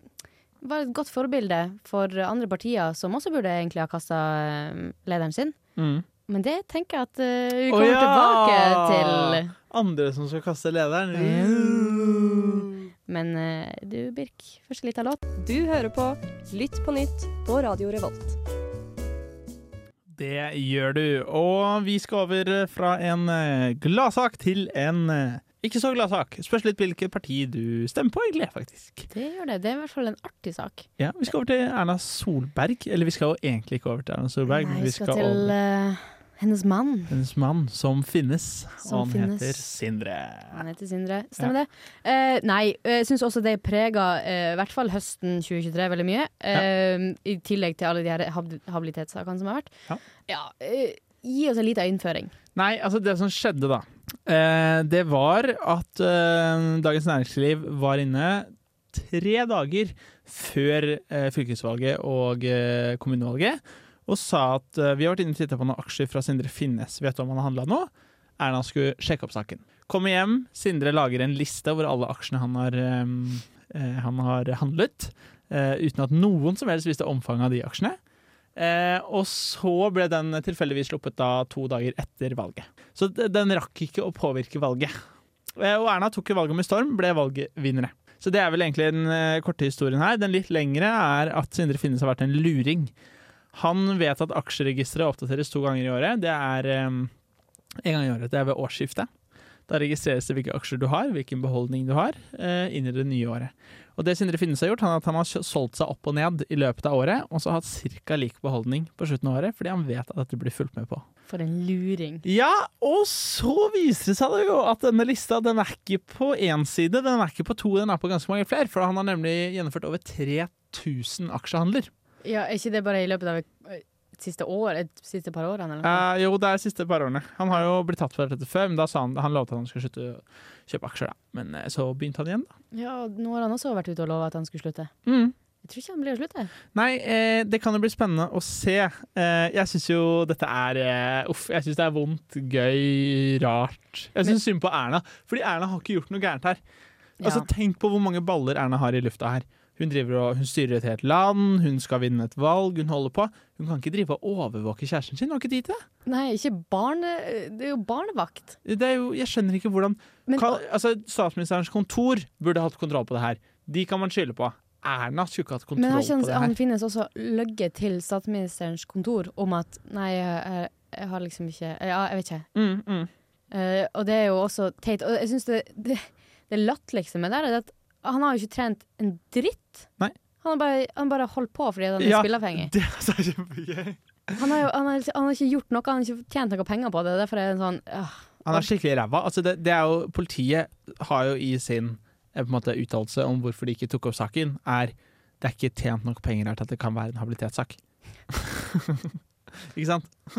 Speaker 9: var et godt forbilde for andre partier som også burde egentlig ha kasta lederen sin. Men det tenker jeg at eh, vi
Speaker 8: Å
Speaker 9: kommer
Speaker 8: ja!
Speaker 9: tilbake til.
Speaker 8: Andre som skal kaste lederen.
Speaker 9: Men eh, du, Birk, først en liten låt.
Speaker 11: Du hører på Lytt på nytt på Radio Revolt.
Speaker 8: Det gjør du. Og vi skal over fra en eh, gladsak til en eh, ikke så gladsak. Spørs litt hvilket parti du stemmer på, egentlig. faktisk.
Speaker 9: Det gjør det. Det er i hvert fall en artig sak.
Speaker 8: Ja, Vi skal over til Erna Solberg. Eller vi skal jo egentlig ikke over til Erna Solberg.
Speaker 9: Nei,
Speaker 8: men
Speaker 9: vi skal til
Speaker 8: over
Speaker 9: eh, hennes mann.
Speaker 8: hennes mann som finnes. og
Speaker 9: Som
Speaker 8: han
Speaker 9: finnes.
Speaker 8: heter Sindre.
Speaker 9: Han heter Sindre. Stemmer det? Eh, nei, jeg syns også det prega eh, i hvert fall høsten 2023 veldig mye. Eh, I tillegg til alle de her hab habilitetssakene som har vært.
Speaker 8: Ja.
Speaker 9: eh, gi oss en liten innføring.
Speaker 8: Nei, altså det som skjedde da, eh, det var at eh, Dagens Næringsliv var inne tre dager før eh, fylkesvalget og eh, kommunevalget, og sa at eh, vi har vært inne og tittet på noen aksjer fra Sindre Finnes. Vet du om han har handla nå? Erna skulle sjekke opp saken. Kommer hjem, Sindre lager en liste over alle aksjene han har, eh, eh, han har handlet, eh, uten at noen som helst visste omfanget av de aksjene. Eh, og så ble den tilfeldigvis sluppet da to dager etter valget. Så d- den rakk ikke å påvirke valget. Eh, og Erna tok jo valget med storm, ble valgvinnere. Så det er vel egentlig den eh, korte historien her. Den litt lengre er at Sindre Finnes har vært en luring. Han vet at aksjeregisteret oppdateres to ganger i året. Det er eh, en gang i året. Det er ved årsskiftet. Da registreres det hvilke aksjer du har, hvilken beholdning du har, eh, inn i det nye året. Og det Sindre Finnes har gjort, han er at han har kjø- solgt seg opp og ned i løpet av året, og så har hatt ca. lik beholdning på slutten av året, fordi han vet at dette blir fulgt med på.
Speaker 9: For en luring.
Speaker 8: Ja, og så viser det seg det jo at denne lista den er ikke på én side, den er ikke på to, den er på ganske mange flere, for han har nemlig gjennomført over 3000 aksjehandler.
Speaker 9: Ja, Er ikke det bare i løpet av et eh, siste år? Et siste par årene? Eller? noe?
Speaker 8: Eh, jo, det er de siste par årene. Han har jo blitt tatt for dette før, men da sa han, han lovte at han skulle slutte å kjøpe aksjer, da. Men eh, så begynte han igjen, da.
Speaker 9: Ja, og Nå har han også vært ute og lova at han skulle slutte.
Speaker 8: Mm.
Speaker 9: Jeg tror ikke han blir å slutte.
Speaker 8: Nei, eh, det kan jo bli spennende å se. Eh, jeg syns jo dette er eh, Uff, jeg syns det er vondt, gøy, rart. Jeg syns synd på Erna, fordi Erna har ikke gjort noe gærent her.
Speaker 9: Ja.
Speaker 8: Altså, Tenk på hvor mange baller Erna har i lufta her. Hun driver og, hun styrer et helt land, hun skal vinne et valg, hun holder på. Hun kan ikke drive og overvåke kjæresten sin, hun har ikke tid til det.
Speaker 9: Nei, ikke barne... eh, Det er jo barnevakt.
Speaker 8: det er jo, jeg skjønner ikke hvordan
Speaker 9: Men-
Speaker 8: kan, altså, Statsministerens kontor burde hatt kontroll på det her. De kan man skylde på. Erna skulle ikke hatt kontroll
Speaker 9: Men har ikke
Speaker 8: på
Speaker 9: han,
Speaker 8: det her.
Speaker 9: han finnes også løgget til statsministerens kontor om at nei, jeg, jeg har liksom ikke Ja, jeg vet ikke.
Speaker 8: Mm, mm.
Speaker 9: Eh, og det er jo også teit. Og jeg syns det, det, det latterligste med det er at han har jo ikke trent en dritt.
Speaker 8: Nei.
Speaker 9: Han har bare, han bare holdt på fordi han er
Speaker 8: Ja,
Speaker 9: spilleavhengig.
Speaker 8: Det er så kjempegøy.
Speaker 9: Han har, jo, han, har, liksom, han har ikke gjort noe, han har ikke tjent noe penger på det. Derfor er det en sånn øh,
Speaker 8: Han er skikkelig ræva. Altså det, det er jo, politiet har jo i sin eh, på en måte, uttalelse om hvorfor de ikke tok opp saken, er det er ikke tjent nok penger her til at det kan være en habilitetssak. ikke sant?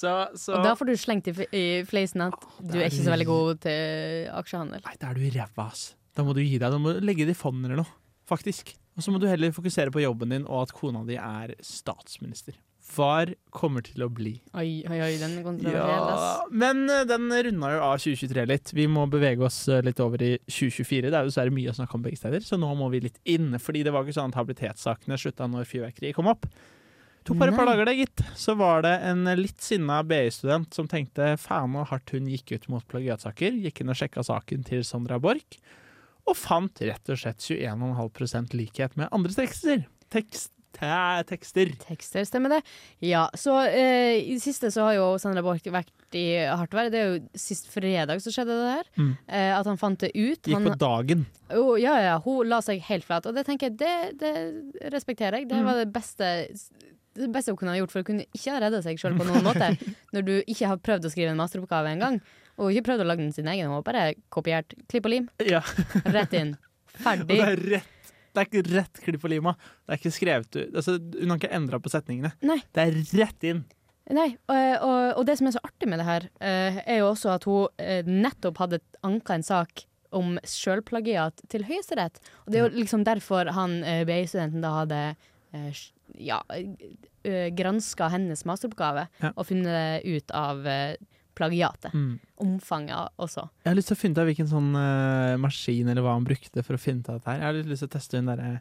Speaker 8: så, så
Speaker 9: Og da får du slengt i, f- i fleisen at du
Speaker 8: der
Speaker 9: er ikke
Speaker 8: du-
Speaker 9: så veldig god til aksjehandel.
Speaker 8: Nei, da er du ræva, ass. Da må du gi deg. Da må du legge det i fondet eller noe, faktisk. Og så må du heller fokusere på jobben din og at kona di er statsminister. Var kommer til å bli.
Speaker 9: Oi, oi, oi, den er kontroversiell, ass.
Speaker 8: Ja, men eh, den runda jo av 2023 litt. Vi må bevege oss eh, litt over i 2024. Det er jo dessverre mye å snakke om begge steder, så nå må vi litt inn. Fordi det var ikke sånn at habilitetssakene slutta når fyrverkeriet kom opp. Tok bare et par
Speaker 9: Nei.
Speaker 8: dager det, gitt. Så var det en eh, litt sinna BI-student som tenkte faen hvor hardt hun gikk ut mot plagiatsaker. Gikk inn og sjekka saken til Sandra Borch, og fant rett og slett 21,5 likhet med andre tekster. Tekst, tæ- tekster.
Speaker 9: Tekster, stemmer det? Ja, så eh, i det siste så har jo Sandra Borch vært i hardt vær. Det er jo sist fredag så skjedde det her.
Speaker 8: Mm.
Speaker 9: Eh, at han fant det ut.
Speaker 8: Gikk
Speaker 9: han,
Speaker 8: på dagen.
Speaker 9: Jo, ja, ja, hun la seg helt flat. Og det tenker jeg, det, det respekterer jeg.
Speaker 8: Mm.
Speaker 9: Det var det beste det beste hun kunne ha gjort, for hun kunne ikke ha redda seg sjøl på noen måte. Når du ikke har prøvd å skrive en masteroppgave engang, og ikke prøvd å lage den sin egen. Hun har bare kopiert. Klipp og lim,
Speaker 8: Ja.
Speaker 9: rett inn.
Speaker 8: Og
Speaker 9: Ferdig.
Speaker 8: det er rett Det er ikke rett klipp og lima. Det er ikke skrevet ut altså, Hun har ikke endra på setningene.
Speaker 9: Nei.
Speaker 8: Det er rett inn.
Speaker 9: Nei, og, og, og det som er så artig med det her, eh, er jo også at hun eh, nettopp hadde anka en sak om sjølplagiat til Høyesterett. Og det er jo liksom derfor han eh, BI-studenten da hadde eh, sj- ja, granska hennes masteroppgave
Speaker 8: Ja.
Speaker 9: og funnet ut av eh, plagiatet. Omfanget også.
Speaker 8: Jeg har lyst til å finne ut av hvilken sånn eh, maskin eller hva han brukte for å finne ut av dette. her Jeg har litt lyst til å teste hun derre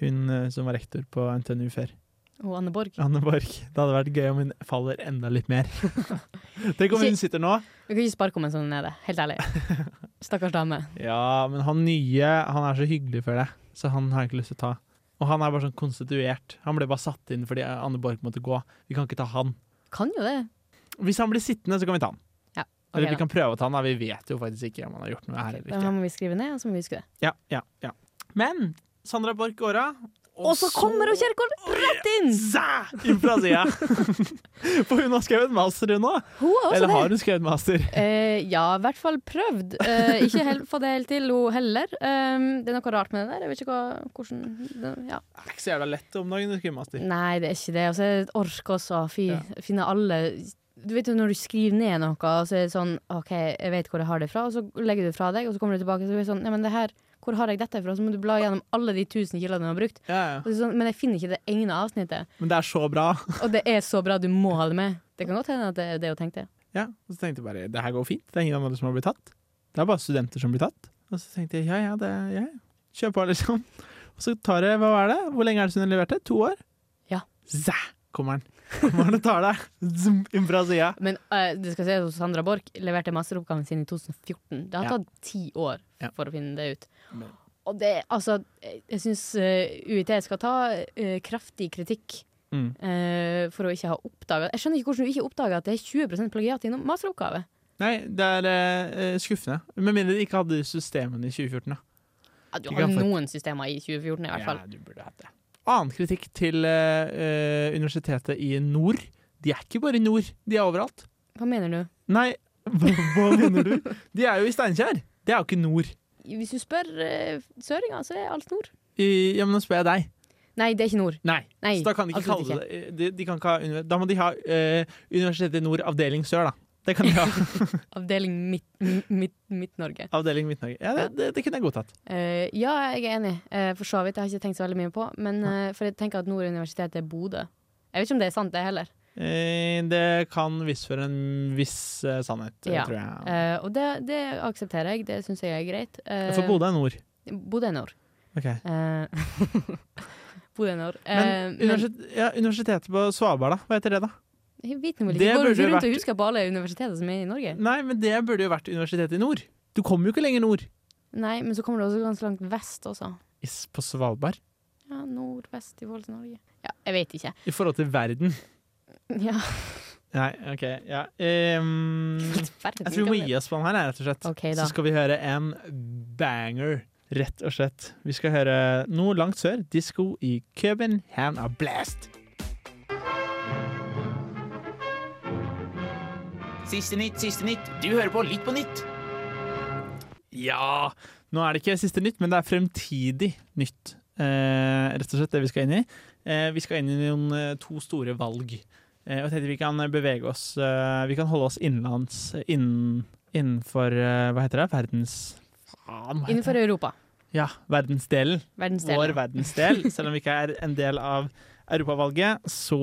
Speaker 8: hun eh, som var rektor på NTNU før.
Speaker 9: Og Anne Borg.
Speaker 8: Anne Borch. Det hadde vært gøy om hun faller enda litt mer. Tenk om hun sitter nå.
Speaker 9: Vi kan ikke sparke om en sånn nede, helt ærlig. Stakkars dame.
Speaker 8: Ja, men han nye Han er så hyggelig for deg, så han har jeg ikke lyst til å ta. Og han er bare sånn konstituert. Han ble bare satt inn fordi Anne Borch måtte gå. Vi kan ikke ta han.
Speaker 9: Kan jo det.
Speaker 8: Hvis han blir sittende, så kan vi ta han.
Speaker 9: Ja, ok
Speaker 8: Eller vi
Speaker 9: da.
Speaker 8: kan prøve å ta han, da. Vi vet jo faktisk ikke om han har gjort noe her
Speaker 9: Da
Speaker 8: eller ikke.
Speaker 9: må vi skrive ned, og så må vi huske det.
Speaker 8: Ja, ja, ja. Men Sandra Borch går av.
Speaker 9: Og så kommer hun Kjerkol rett inn!
Speaker 8: Zæ! Inn fra sida! For hun har skrevet master, hun òg.
Speaker 9: Hun er også
Speaker 8: Eller
Speaker 9: det.
Speaker 8: har hun skrevet master?
Speaker 9: Eh, ja, i hvert fall prøvd. Eh, ikke helt fått det helt til, hun heller. Um, det er noe rart med det der. Jeg vet ikke hva, hvordan det- ja.
Speaker 8: Det er ikke så jævla lett om dagen å skrive master.
Speaker 9: Nei, det er ikke det. Og så er det et ork også. Fy,
Speaker 8: Ja.
Speaker 9: Finne alle Du vet jo når du skriver ned noe, og så er det sånn OK, jeg vet hvor jeg har det fra, og så legger du det fra deg, og så kommer du tilbake og så blir det sånn Nei, men det her, hvor har jeg dette fra? Så må du bla gjennom alle de tusen kildene du har brukt.
Speaker 8: Ja, ja.
Speaker 9: Og så er det sånn, men jeg finner ikke det ene avsnittet.
Speaker 8: Men det er så bra.
Speaker 9: Og det er så bra, du må ha det med. Det kan godt hende at det er det hun tenkte.
Speaker 8: Ja, og så tenkte jeg bare det her går fint. Det er ingen andre som har blitt tatt. Det er bare studenter som blir tatt. Og så tenkte jeg ja, ja, det ja, ja. Kjør på, liksom. Og så tar det hva er det? Hvor lenge er det siden hun leverte? To år?
Speaker 9: Ja.
Speaker 8: Zæ! Kommer den. Kommer den og tar deg. Zoom, inn fra sida.
Speaker 9: Men eh, det skal sies at Sandra Borch leverte masteroppgaven sin i 2014. Det har
Speaker 8: Ja.
Speaker 9: tatt ti år
Speaker 8: Ja.
Speaker 9: for å finne det ut.
Speaker 8: Men-
Speaker 9: Og det, altså, jeg jeg syns eh, UiT skal ta eh, kraftig kritikk
Speaker 8: Mm.
Speaker 9: eh, for å ikke ha oppdaga Jeg skjønner ikke hvordan du ikke oppdaga at det er 20 plagiat i en masteroppgave.
Speaker 8: Nei, det er eh, skuffende. Med mindre de ikke hadde systemene i 2014, da.
Speaker 9: Ja, du
Speaker 8: Ikke
Speaker 9: har
Speaker 8: sant, for-
Speaker 9: noen systemer i 2014 i hvert fall.
Speaker 8: Ja, du burde hatt det. Annen kritikk til eh, eh, universitetet i nord. De er ikke bare i nord, de er overalt.
Speaker 9: Hva mener du?
Speaker 8: Nei, hva, hva mener du? De er jo i Steinkjer. Det er jo ikke nord.
Speaker 9: Hvis du spør eh, søringer, så er alt nord.
Speaker 8: I, ja, men nå spør jeg deg.
Speaker 9: Nei, det er ikke nord.
Speaker 8: Nei.
Speaker 9: Nei,
Speaker 8: så da kan de ikke
Speaker 9: absolutt
Speaker 8: kalle det eh, de, de kan ikke ha, univer- Da må de ha eh, Universitetet i Nord avdeling Sør, da. Det kan de ha.
Speaker 9: Avdeling Midt-Norge. Midt, midt Midt-Norge.
Speaker 8: avdeling Midt-Norge. Ja, det, det, det kunne jeg godtatt.
Speaker 9: Eh, ja, jeg er enig, eh, for så vidt. Jeg har ikke tenkt så veldig mye på Men eh, for jeg tenker at Nord universitet er Bodø. Jeg vet ikke om det er sant, det heller.
Speaker 8: Eh, det kan visstføre en viss eh, sannhet, eh,
Speaker 9: Ja.
Speaker 8: tror jeg.
Speaker 9: Eh, og det, det aksepterer jeg, det syns jeg er greit. Eh,
Speaker 8: For Bodø er nord.
Speaker 9: Bodø er nord.
Speaker 8: Ok.
Speaker 9: Eh, Bodø er nord. Eh,
Speaker 8: Men, universitet, ja, universitetet på Svalbard, da? Hva heter det, da?
Speaker 9: jeg vet nå vel
Speaker 8: Det
Speaker 9: ikke. Går du
Speaker 8: burde
Speaker 9: ikke rundt
Speaker 8: vært-
Speaker 9: og husker på alle universiteter som er i Norge?
Speaker 8: Nei, men det burde jo vært Universitetet i Nord. Du kommer jo ikke lenger nord.
Speaker 9: Nei, men så kommer det også ganske langt vest også.
Speaker 8: Is- På Svalbard?
Speaker 9: Ja, nordvest i forhold til Norge. Ja, jeg vet ikke.
Speaker 8: I forhold til verden.
Speaker 9: Ja.
Speaker 8: Nei, OK. Ja. Ehm, jeg tror vi må gi oss på den her, rett og slett.
Speaker 9: Ok, da.
Speaker 8: Så skal vi høre en banger, rett og slett. Vi skal høre noe langt sør. Disko i København og Blast.
Speaker 12: Siste nytt, siste nytt. Du hører på Litt på nytt.
Speaker 8: Ja! Nå er det ikke siste nytt, men det er fremtidig nytt. Eh, rett og slett det vi skal inn i. Eh, vi skal inn i noen, eh, to store valg. Eh, og jeg tenkte vi kan bevege oss eh, Vi kan holde oss innenlands eh, innen, innenfor eh, Hva heter det? Verdens... Faen, hva heter
Speaker 9: Innenfor
Speaker 8: det?
Speaker 9: Europa.
Speaker 8: Ja, verdensdelen.
Speaker 9: Verdensdelen,
Speaker 8: Vår
Speaker 9: ja.
Speaker 8: verdensdel. Selv om vi ikke er en del av europavalget, så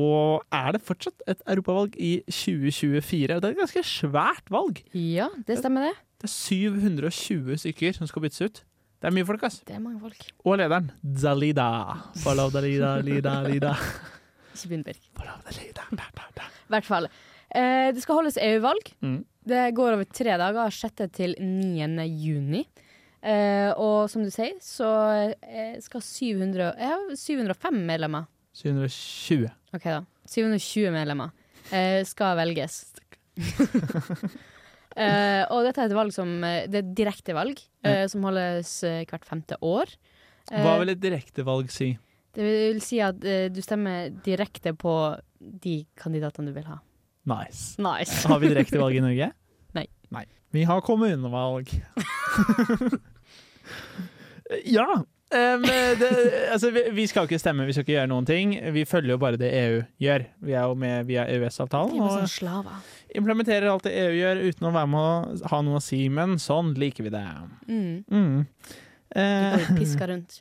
Speaker 8: er det fortsatt et europavalg i 2024. Det er et ganske svært valg.
Speaker 9: Ja, det stemmer det.
Speaker 8: Det er 720 stykker som skal byttes ut. Det er mye folk, ass.
Speaker 9: Det er mange folk.
Speaker 8: Og lederen, Dalida. Follow Dalida, Lida, Lida.
Speaker 9: Ikke begynn, Birk.
Speaker 8: I
Speaker 9: hvert fall. Eh, det skal holdes EU-valg.
Speaker 8: Mm.
Speaker 9: Det går over tre dager, 6. til 9. juni. Eh, og som du sier, så eh, skal 700, jeg har 705 medlemmer
Speaker 8: 720.
Speaker 9: Ok da. 720 medlemmer eh, skal velges. eh, og dette er et valg som eh, Det er et direkte valg, eh, som holdes eh, hvert femte år. Eh,
Speaker 8: Hva vil et direktevalg si?
Speaker 9: Det vil si at eh, du stemmer direkte på de kandidatene du vil ha.
Speaker 8: Nice.
Speaker 9: Nice.
Speaker 8: Har vi direktevalg i Norge?
Speaker 9: Nei.
Speaker 8: Vi har kommunevalg. ja. em, det, altså, vi, vi skal ikke stemme, vi skal ikke gjøre noen ting. Vi følger jo bare det EU gjør. Vi er jo med via EØS-avtalen.
Speaker 9: Vi er
Speaker 8: og-
Speaker 9: sånn slaver.
Speaker 8: implementerer alt det EU gjør uten å være med å ha noe å si, men sånn liker vi det.
Speaker 9: Mm.
Speaker 8: Mm. Eh,
Speaker 9: Går og pisker rundt.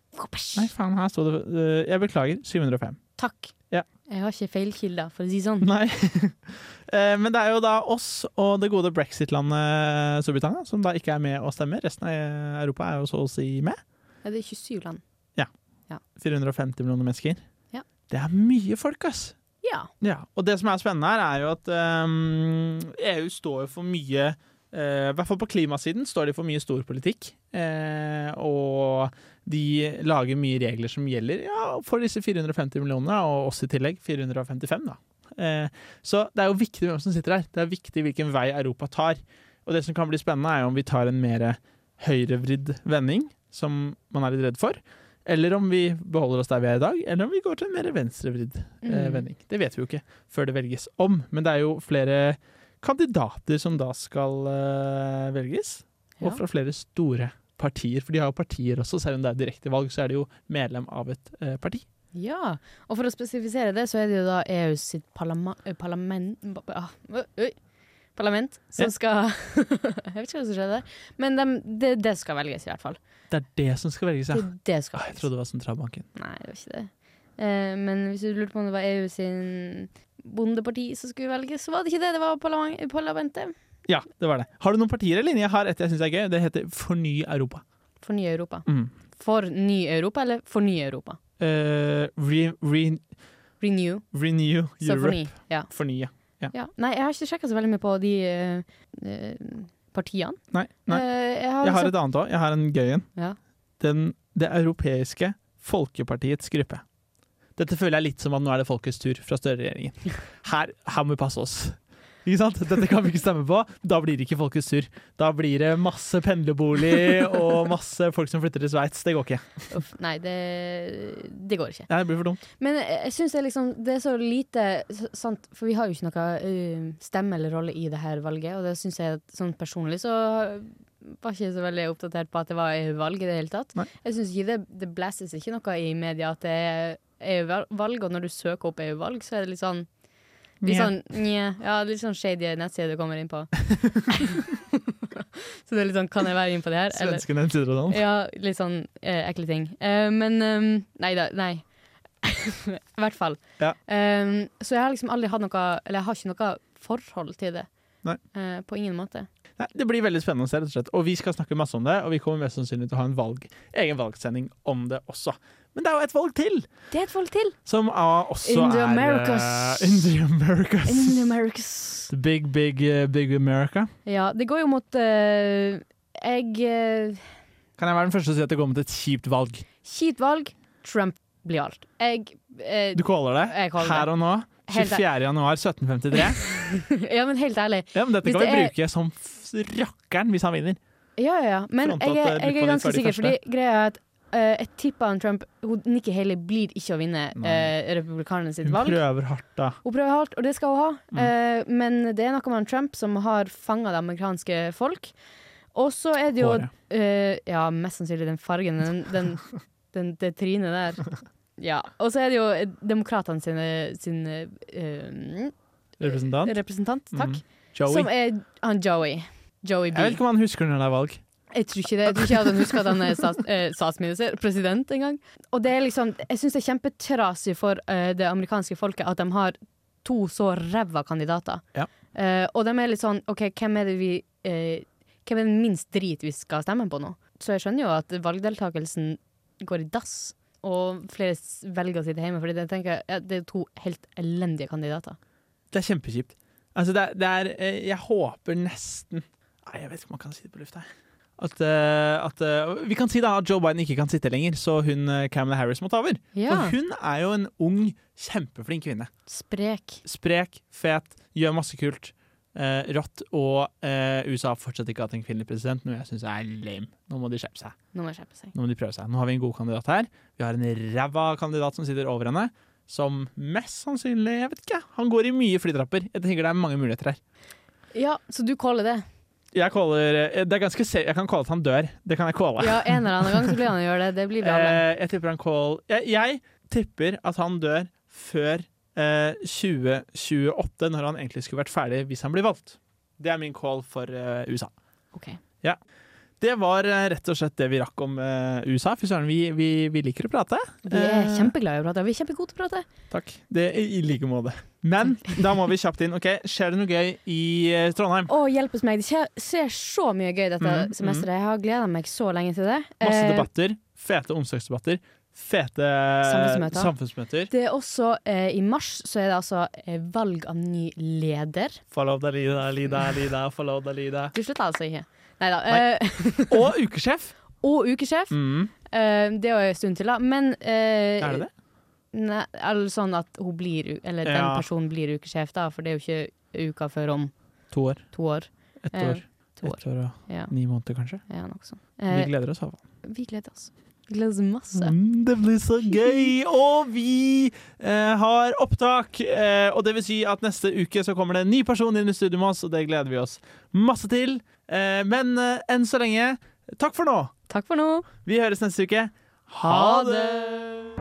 Speaker 8: nei, faen, her står det eh, Jeg beklager. 705.
Speaker 9: Takk.
Speaker 8: Ja. Mm.
Speaker 9: Jeg har ikke feilkilder, for å si det sånn.
Speaker 8: Nei. Eh, men det er jo da oss og det gode brexit-landet Storbritannia som da ikke er med og stemmer. Resten av Europa er jo så å si med.
Speaker 9: Ja, det er 27 land.
Speaker 8: Ja.
Speaker 9: Ja.
Speaker 8: 450 millioner mennesker.
Speaker 9: Ja.
Speaker 8: Det er mye folk, ass!
Speaker 9: Ja.
Speaker 8: Ja, og det som er spennende her, er jo at ehm, EU står jo for mye eh, I hvert fall på klimasiden står de for mye storpolitikk. Uh, og de lager mye regler som gjelder ja, for disse 450 millionene, og oss i tillegg 455, da. Eh, så det er jo viktig hvem som sitter der. Det er viktig hvilken vei Europa tar. Og det som kan bli spennende, er jo om vi tar en mer høyrevridd vending, som man er litt redd for. Eller om vi beholder oss der vi er i dag, eller om vi går til en mer venstrevridd eh,
Speaker 7: Mm.
Speaker 8: vending. Det vet vi jo ikke før det velges om, men det er jo flere kandidater som da skal eh, velges.
Speaker 9: Ja.
Speaker 8: Og fra flere store partier, for de har jo partier også, selv om det er direkte valg, så er de jo medlem av et eh, parti.
Speaker 9: Ja, og for å spesifisere det, så er det jo da EU sitt parlama eh, parlament ah, ø- øy. Parlament som
Speaker 8: Ja.
Speaker 9: skal Jeg vet ikke hva som skjedde der, men dem- det, det skal velges, i hvert fall.
Speaker 8: Det er det som skal velges, ja.
Speaker 9: Det, det skal
Speaker 8: Ah, jeg trodde det var sentralbanken.
Speaker 9: Nei, det var ikke det. Eh, men hvis du lurte på om det var EU sin bondeparti som skulle velges, så var det ikke det. Det var parlament, parlamentet.
Speaker 8: Ja, det var det. Har du noen partier eller linjer? Jeg har et jeg syns er gøy. Det heter Forny Europa.
Speaker 9: For ny Europa.
Speaker 8: Mm.
Speaker 9: For ny Europa, eller for ny Europa?
Speaker 8: Eh, re, re,
Speaker 9: Renew.
Speaker 8: renew
Speaker 9: Så
Speaker 8: Europe.
Speaker 9: for ny. Ja.
Speaker 8: Forny, ja. ja.
Speaker 9: Ja. Nei, jeg har ikke sjekka så veldig mye på de eh, eh, partiene.
Speaker 8: Nei, nei.
Speaker 9: Eh, jeg har,
Speaker 8: Jeg har
Speaker 9: liksom-
Speaker 8: et annet òg. Jeg har en gøy en.
Speaker 9: Ja.
Speaker 8: Den- Det europeiske folkepartiets gruppe. Dette føler jeg litt som at nå er det folkets tur fra Støre-regjeringen. Her, her må vi passe oss. Ikke sant? Dette kan vi ikke stemme på. Da blir det ikke folkets tur. Da blir det masse pendlerbolig og masse folk som flytter til Sveits. Det går ikke.
Speaker 9: Uff, nei, det, det går ikke.
Speaker 8: Nei, det blir for dumt.
Speaker 9: Men jeg jeg syns det, er liksom, det er så lite s- sant, For vi har jo ikke noe eh, stemme eller rolle i det her valget, og det syns jeg at sånn personlig så var ikke så veldig oppdatert på at det var EU-valg i det hele tatt. Jeg synes ikke det, det blæses ikke noe i media at det er EU-valg, og når du søker opp EU-valg, så er det litt sånn Litt
Speaker 13: Nja.
Speaker 9: sånn, nja, ja, litt sånn shady nettside du kommer inn på. så det er litt sånn Kan jeg være inn på det her? Eller-
Speaker 8: Svenskene sitter og sånn.
Speaker 9: ja, litt sånn eh, ekle ting. Eh, men ehm, nei da, nei. I hvert fall.
Speaker 8: Ja.
Speaker 9: Ehm, så jeg har liksom aldri hatt noe Eller jeg har ikke noe forhold til det.
Speaker 8: Nei.
Speaker 9: Eh, på ingen måte.
Speaker 8: Nei, det blir veldig spennende å se, rett og slett. Og vi skal snakke masse om det, og vi kommer mest sannsynlig til å ha en valg, egen valgsending om det også. Men det er jo et valg til!
Speaker 9: Det er et valg til!
Speaker 8: Som ah, også
Speaker 9: In the
Speaker 8: er eh,
Speaker 9: Americas.
Speaker 8: In the Americas.
Speaker 9: In the Americas.
Speaker 8: The Big, big, eh, big America.
Speaker 9: Ja, det går jo mot eh, Jeg eh,
Speaker 8: Kan jeg være den første til å si at det går mot et kjipt valg?
Speaker 9: Kjipt valg. Trump blir alt. Jeg eh,
Speaker 8: Du caller det
Speaker 9: Jeg caller det.
Speaker 8: her og nå.
Speaker 9: Helt
Speaker 8: 24. januar 1753.
Speaker 9: ja, men helt ærlig.
Speaker 8: Ja, men dette
Speaker 9: Hvis
Speaker 8: kan vi
Speaker 9: det er-
Speaker 8: bruke som f- rakkeren hvis han vinner.
Speaker 9: Ja, ja, ja. Men
Speaker 8: Front at,
Speaker 9: jeg,
Speaker 8: eh,
Speaker 9: er-
Speaker 8: Litt
Speaker 9: jeg
Speaker 8: på
Speaker 9: er
Speaker 8: nytt
Speaker 9: ganske
Speaker 8: var de
Speaker 9: sikker,
Speaker 8: første.
Speaker 9: fordi greia er at eh, jeg tipper han Trump hun, Nikki Haley blir ikke å vinne uh, republikanerne sitt
Speaker 8: Hun
Speaker 9: valg.
Speaker 8: prøver Mm. hardt, da.
Speaker 9: Hun prøver hardt, og det skal hun ha. Eh, men det er noe med han Trump som har fanga det amerikanske folk. Og så er det jo
Speaker 8: Håret.
Speaker 9: eh, Ja, mest sannsynlig den fargen. Den, den, den, det trynet der. Ja. Og så er det jo eh, demokratene sine, sin eh,
Speaker 8: Representant.
Speaker 9: representant, takk,
Speaker 8: Mm. Joey.
Speaker 9: som er han Joey. Joey
Speaker 8: Jeg
Speaker 9: B.
Speaker 8: vet ikke om han husker når det er valg.
Speaker 9: Jeg tror ikke det. Jeg tror ikke at han husker at han er stats, eh, statsminister, president engang. Og det er liksom, jeg syns det er kjempetrasig for eh, det amerikanske folket at de har to så ræva kandidater.
Speaker 8: Ja.
Speaker 9: Eh, og de er litt sånn OK, hvem er det vi eh, Hvem er den minst drit vi skal stemme på nå? Så jeg skjønner jo at valgdeltakelsen går i dass, og flere s- velger å sitte hjemme. Fordi jeg tenker, ja, det er to helt elendige kandidater.
Speaker 8: Det er kjempekjipt. Altså, det er, det er eh, Jeg håper nesten Nei, jeg vet ikke om man kan si det på lufta, jeg. At, eh, at eh, Vi kan si da at Joe Biden ikke kan sitte lenger, så hun eh, Kamala Harris må ta over.
Speaker 9: Ja.
Speaker 8: For hun er jo en ung, kjempeflink kvinne.
Speaker 9: Sprek.
Speaker 8: Sprek, fet, gjør masse kult. eh, rått. Og eh, USA har fortsatt ikke hatt en kvinnelig president, noe jeg syns er lame. Nå må de skjerpe seg.
Speaker 9: Nå må jeg skjerpe seg.
Speaker 8: Nå må de prøve seg. Nå har vi en god kandidat her. Vi har en ræva kandidat som sitter over henne. Som mest sannsynlig Jeg vet ikke. Han går i mye flytrapper. Jeg tenker det er mange muligheter her.
Speaker 9: Ja, så du caller det?
Speaker 8: Jeg, caller, eh, det er ganske se jeg kan calle at han dør. Det kan jeg calle.
Speaker 9: Ja, en eller annen gang så blir han å gjøre det. Det blir vi alle.
Speaker 8: Eh, jeg tipper han call jeg, jeg tipper at han dør før eh, 2028, når han egentlig skulle vært ferdig hvis han blir valgt. Det er min call for eh, USA.
Speaker 9: Ok.
Speaker 8: Ja. Det var eh, rett og slett det vi rakk om eh, USA. Fy søren, vi, vi, vi liker å prate.
Speaker 9: Vi er
Speaker 8: Eh,
Speaker 9: kjempeglade i å prate. Vi er kjempegode til å prate.
Speaker 8: Takk. Det I i like måte. Men da må vi kjapt inn. Ok, Skjer det noe gøy i eh, Trondheim?
Speaker 9: Å, hjelpes meg. Det skjer- skjer så mye gøy dette
Speaker 8: Mm,
Speaker 9: semesteret. Jeg har gleda meg så lenge til det.
Speaker 8: Masse
Speaker 9: Eh,
Speaker 8: debatter. Fete omsorgsdebatter. Fete
Speaker 9: Samfunnsmøter.
Speaker 8: samfunnsmøter.
Speaker 9: Det er også eh, I mars så er det altså eh, valg av ny leder.
Speaker 8: Follow the leader, leader, leader, follow the leader.
Speaker 9: Du slutter altså ikke. Neida.
Speaker 8: Nei.
Speaker 9: Eh,
Speaker 8: Og ukesjef.
Speaker 9: og ukesjef.
Speaker 8: Mm.
Speaker 9: Eh, det er jo en stund til, da. Men eh,
Speaker 8: Er det det?
Speaker 9: Nei, eller sånn at hun blir u- Eller den
Speaker 8: Ja.
Speaker 9: personen blir ukesjef, da. For det er jo ikke uka før om
Speaker 8: To år.
Speaker 9: to år.
Speaker 8: Ett
Speaker 9: Eh,
Speaker 8: år.
Speaker 9: to år.
Speaker 8: Ett år og
Speaker 9: Ja,
Speaker 8: ni måneder, kanskje.
Speaker 9: ja noe sånt.
Speaker 8: Vi
Speaker 9: Eh,
Speaker 8: gleder oss. Havan.
Speaker 9: vi gleder oss. Vi gleder oss masse.
Speaker 8: Mm, det blir så gøy! Og vi eh, har opptak. Eh, og det vil si at neste uke så kommer det en ny person inn i studio med oss, og det gleder vi oss masse til. Eh, men eh, enn så lenge, takk for nå.
Speaker 9: Takk for nå.
Speaker 8: Vi høres neste uke.
Speaker 9: Ha
Speaker 8: det!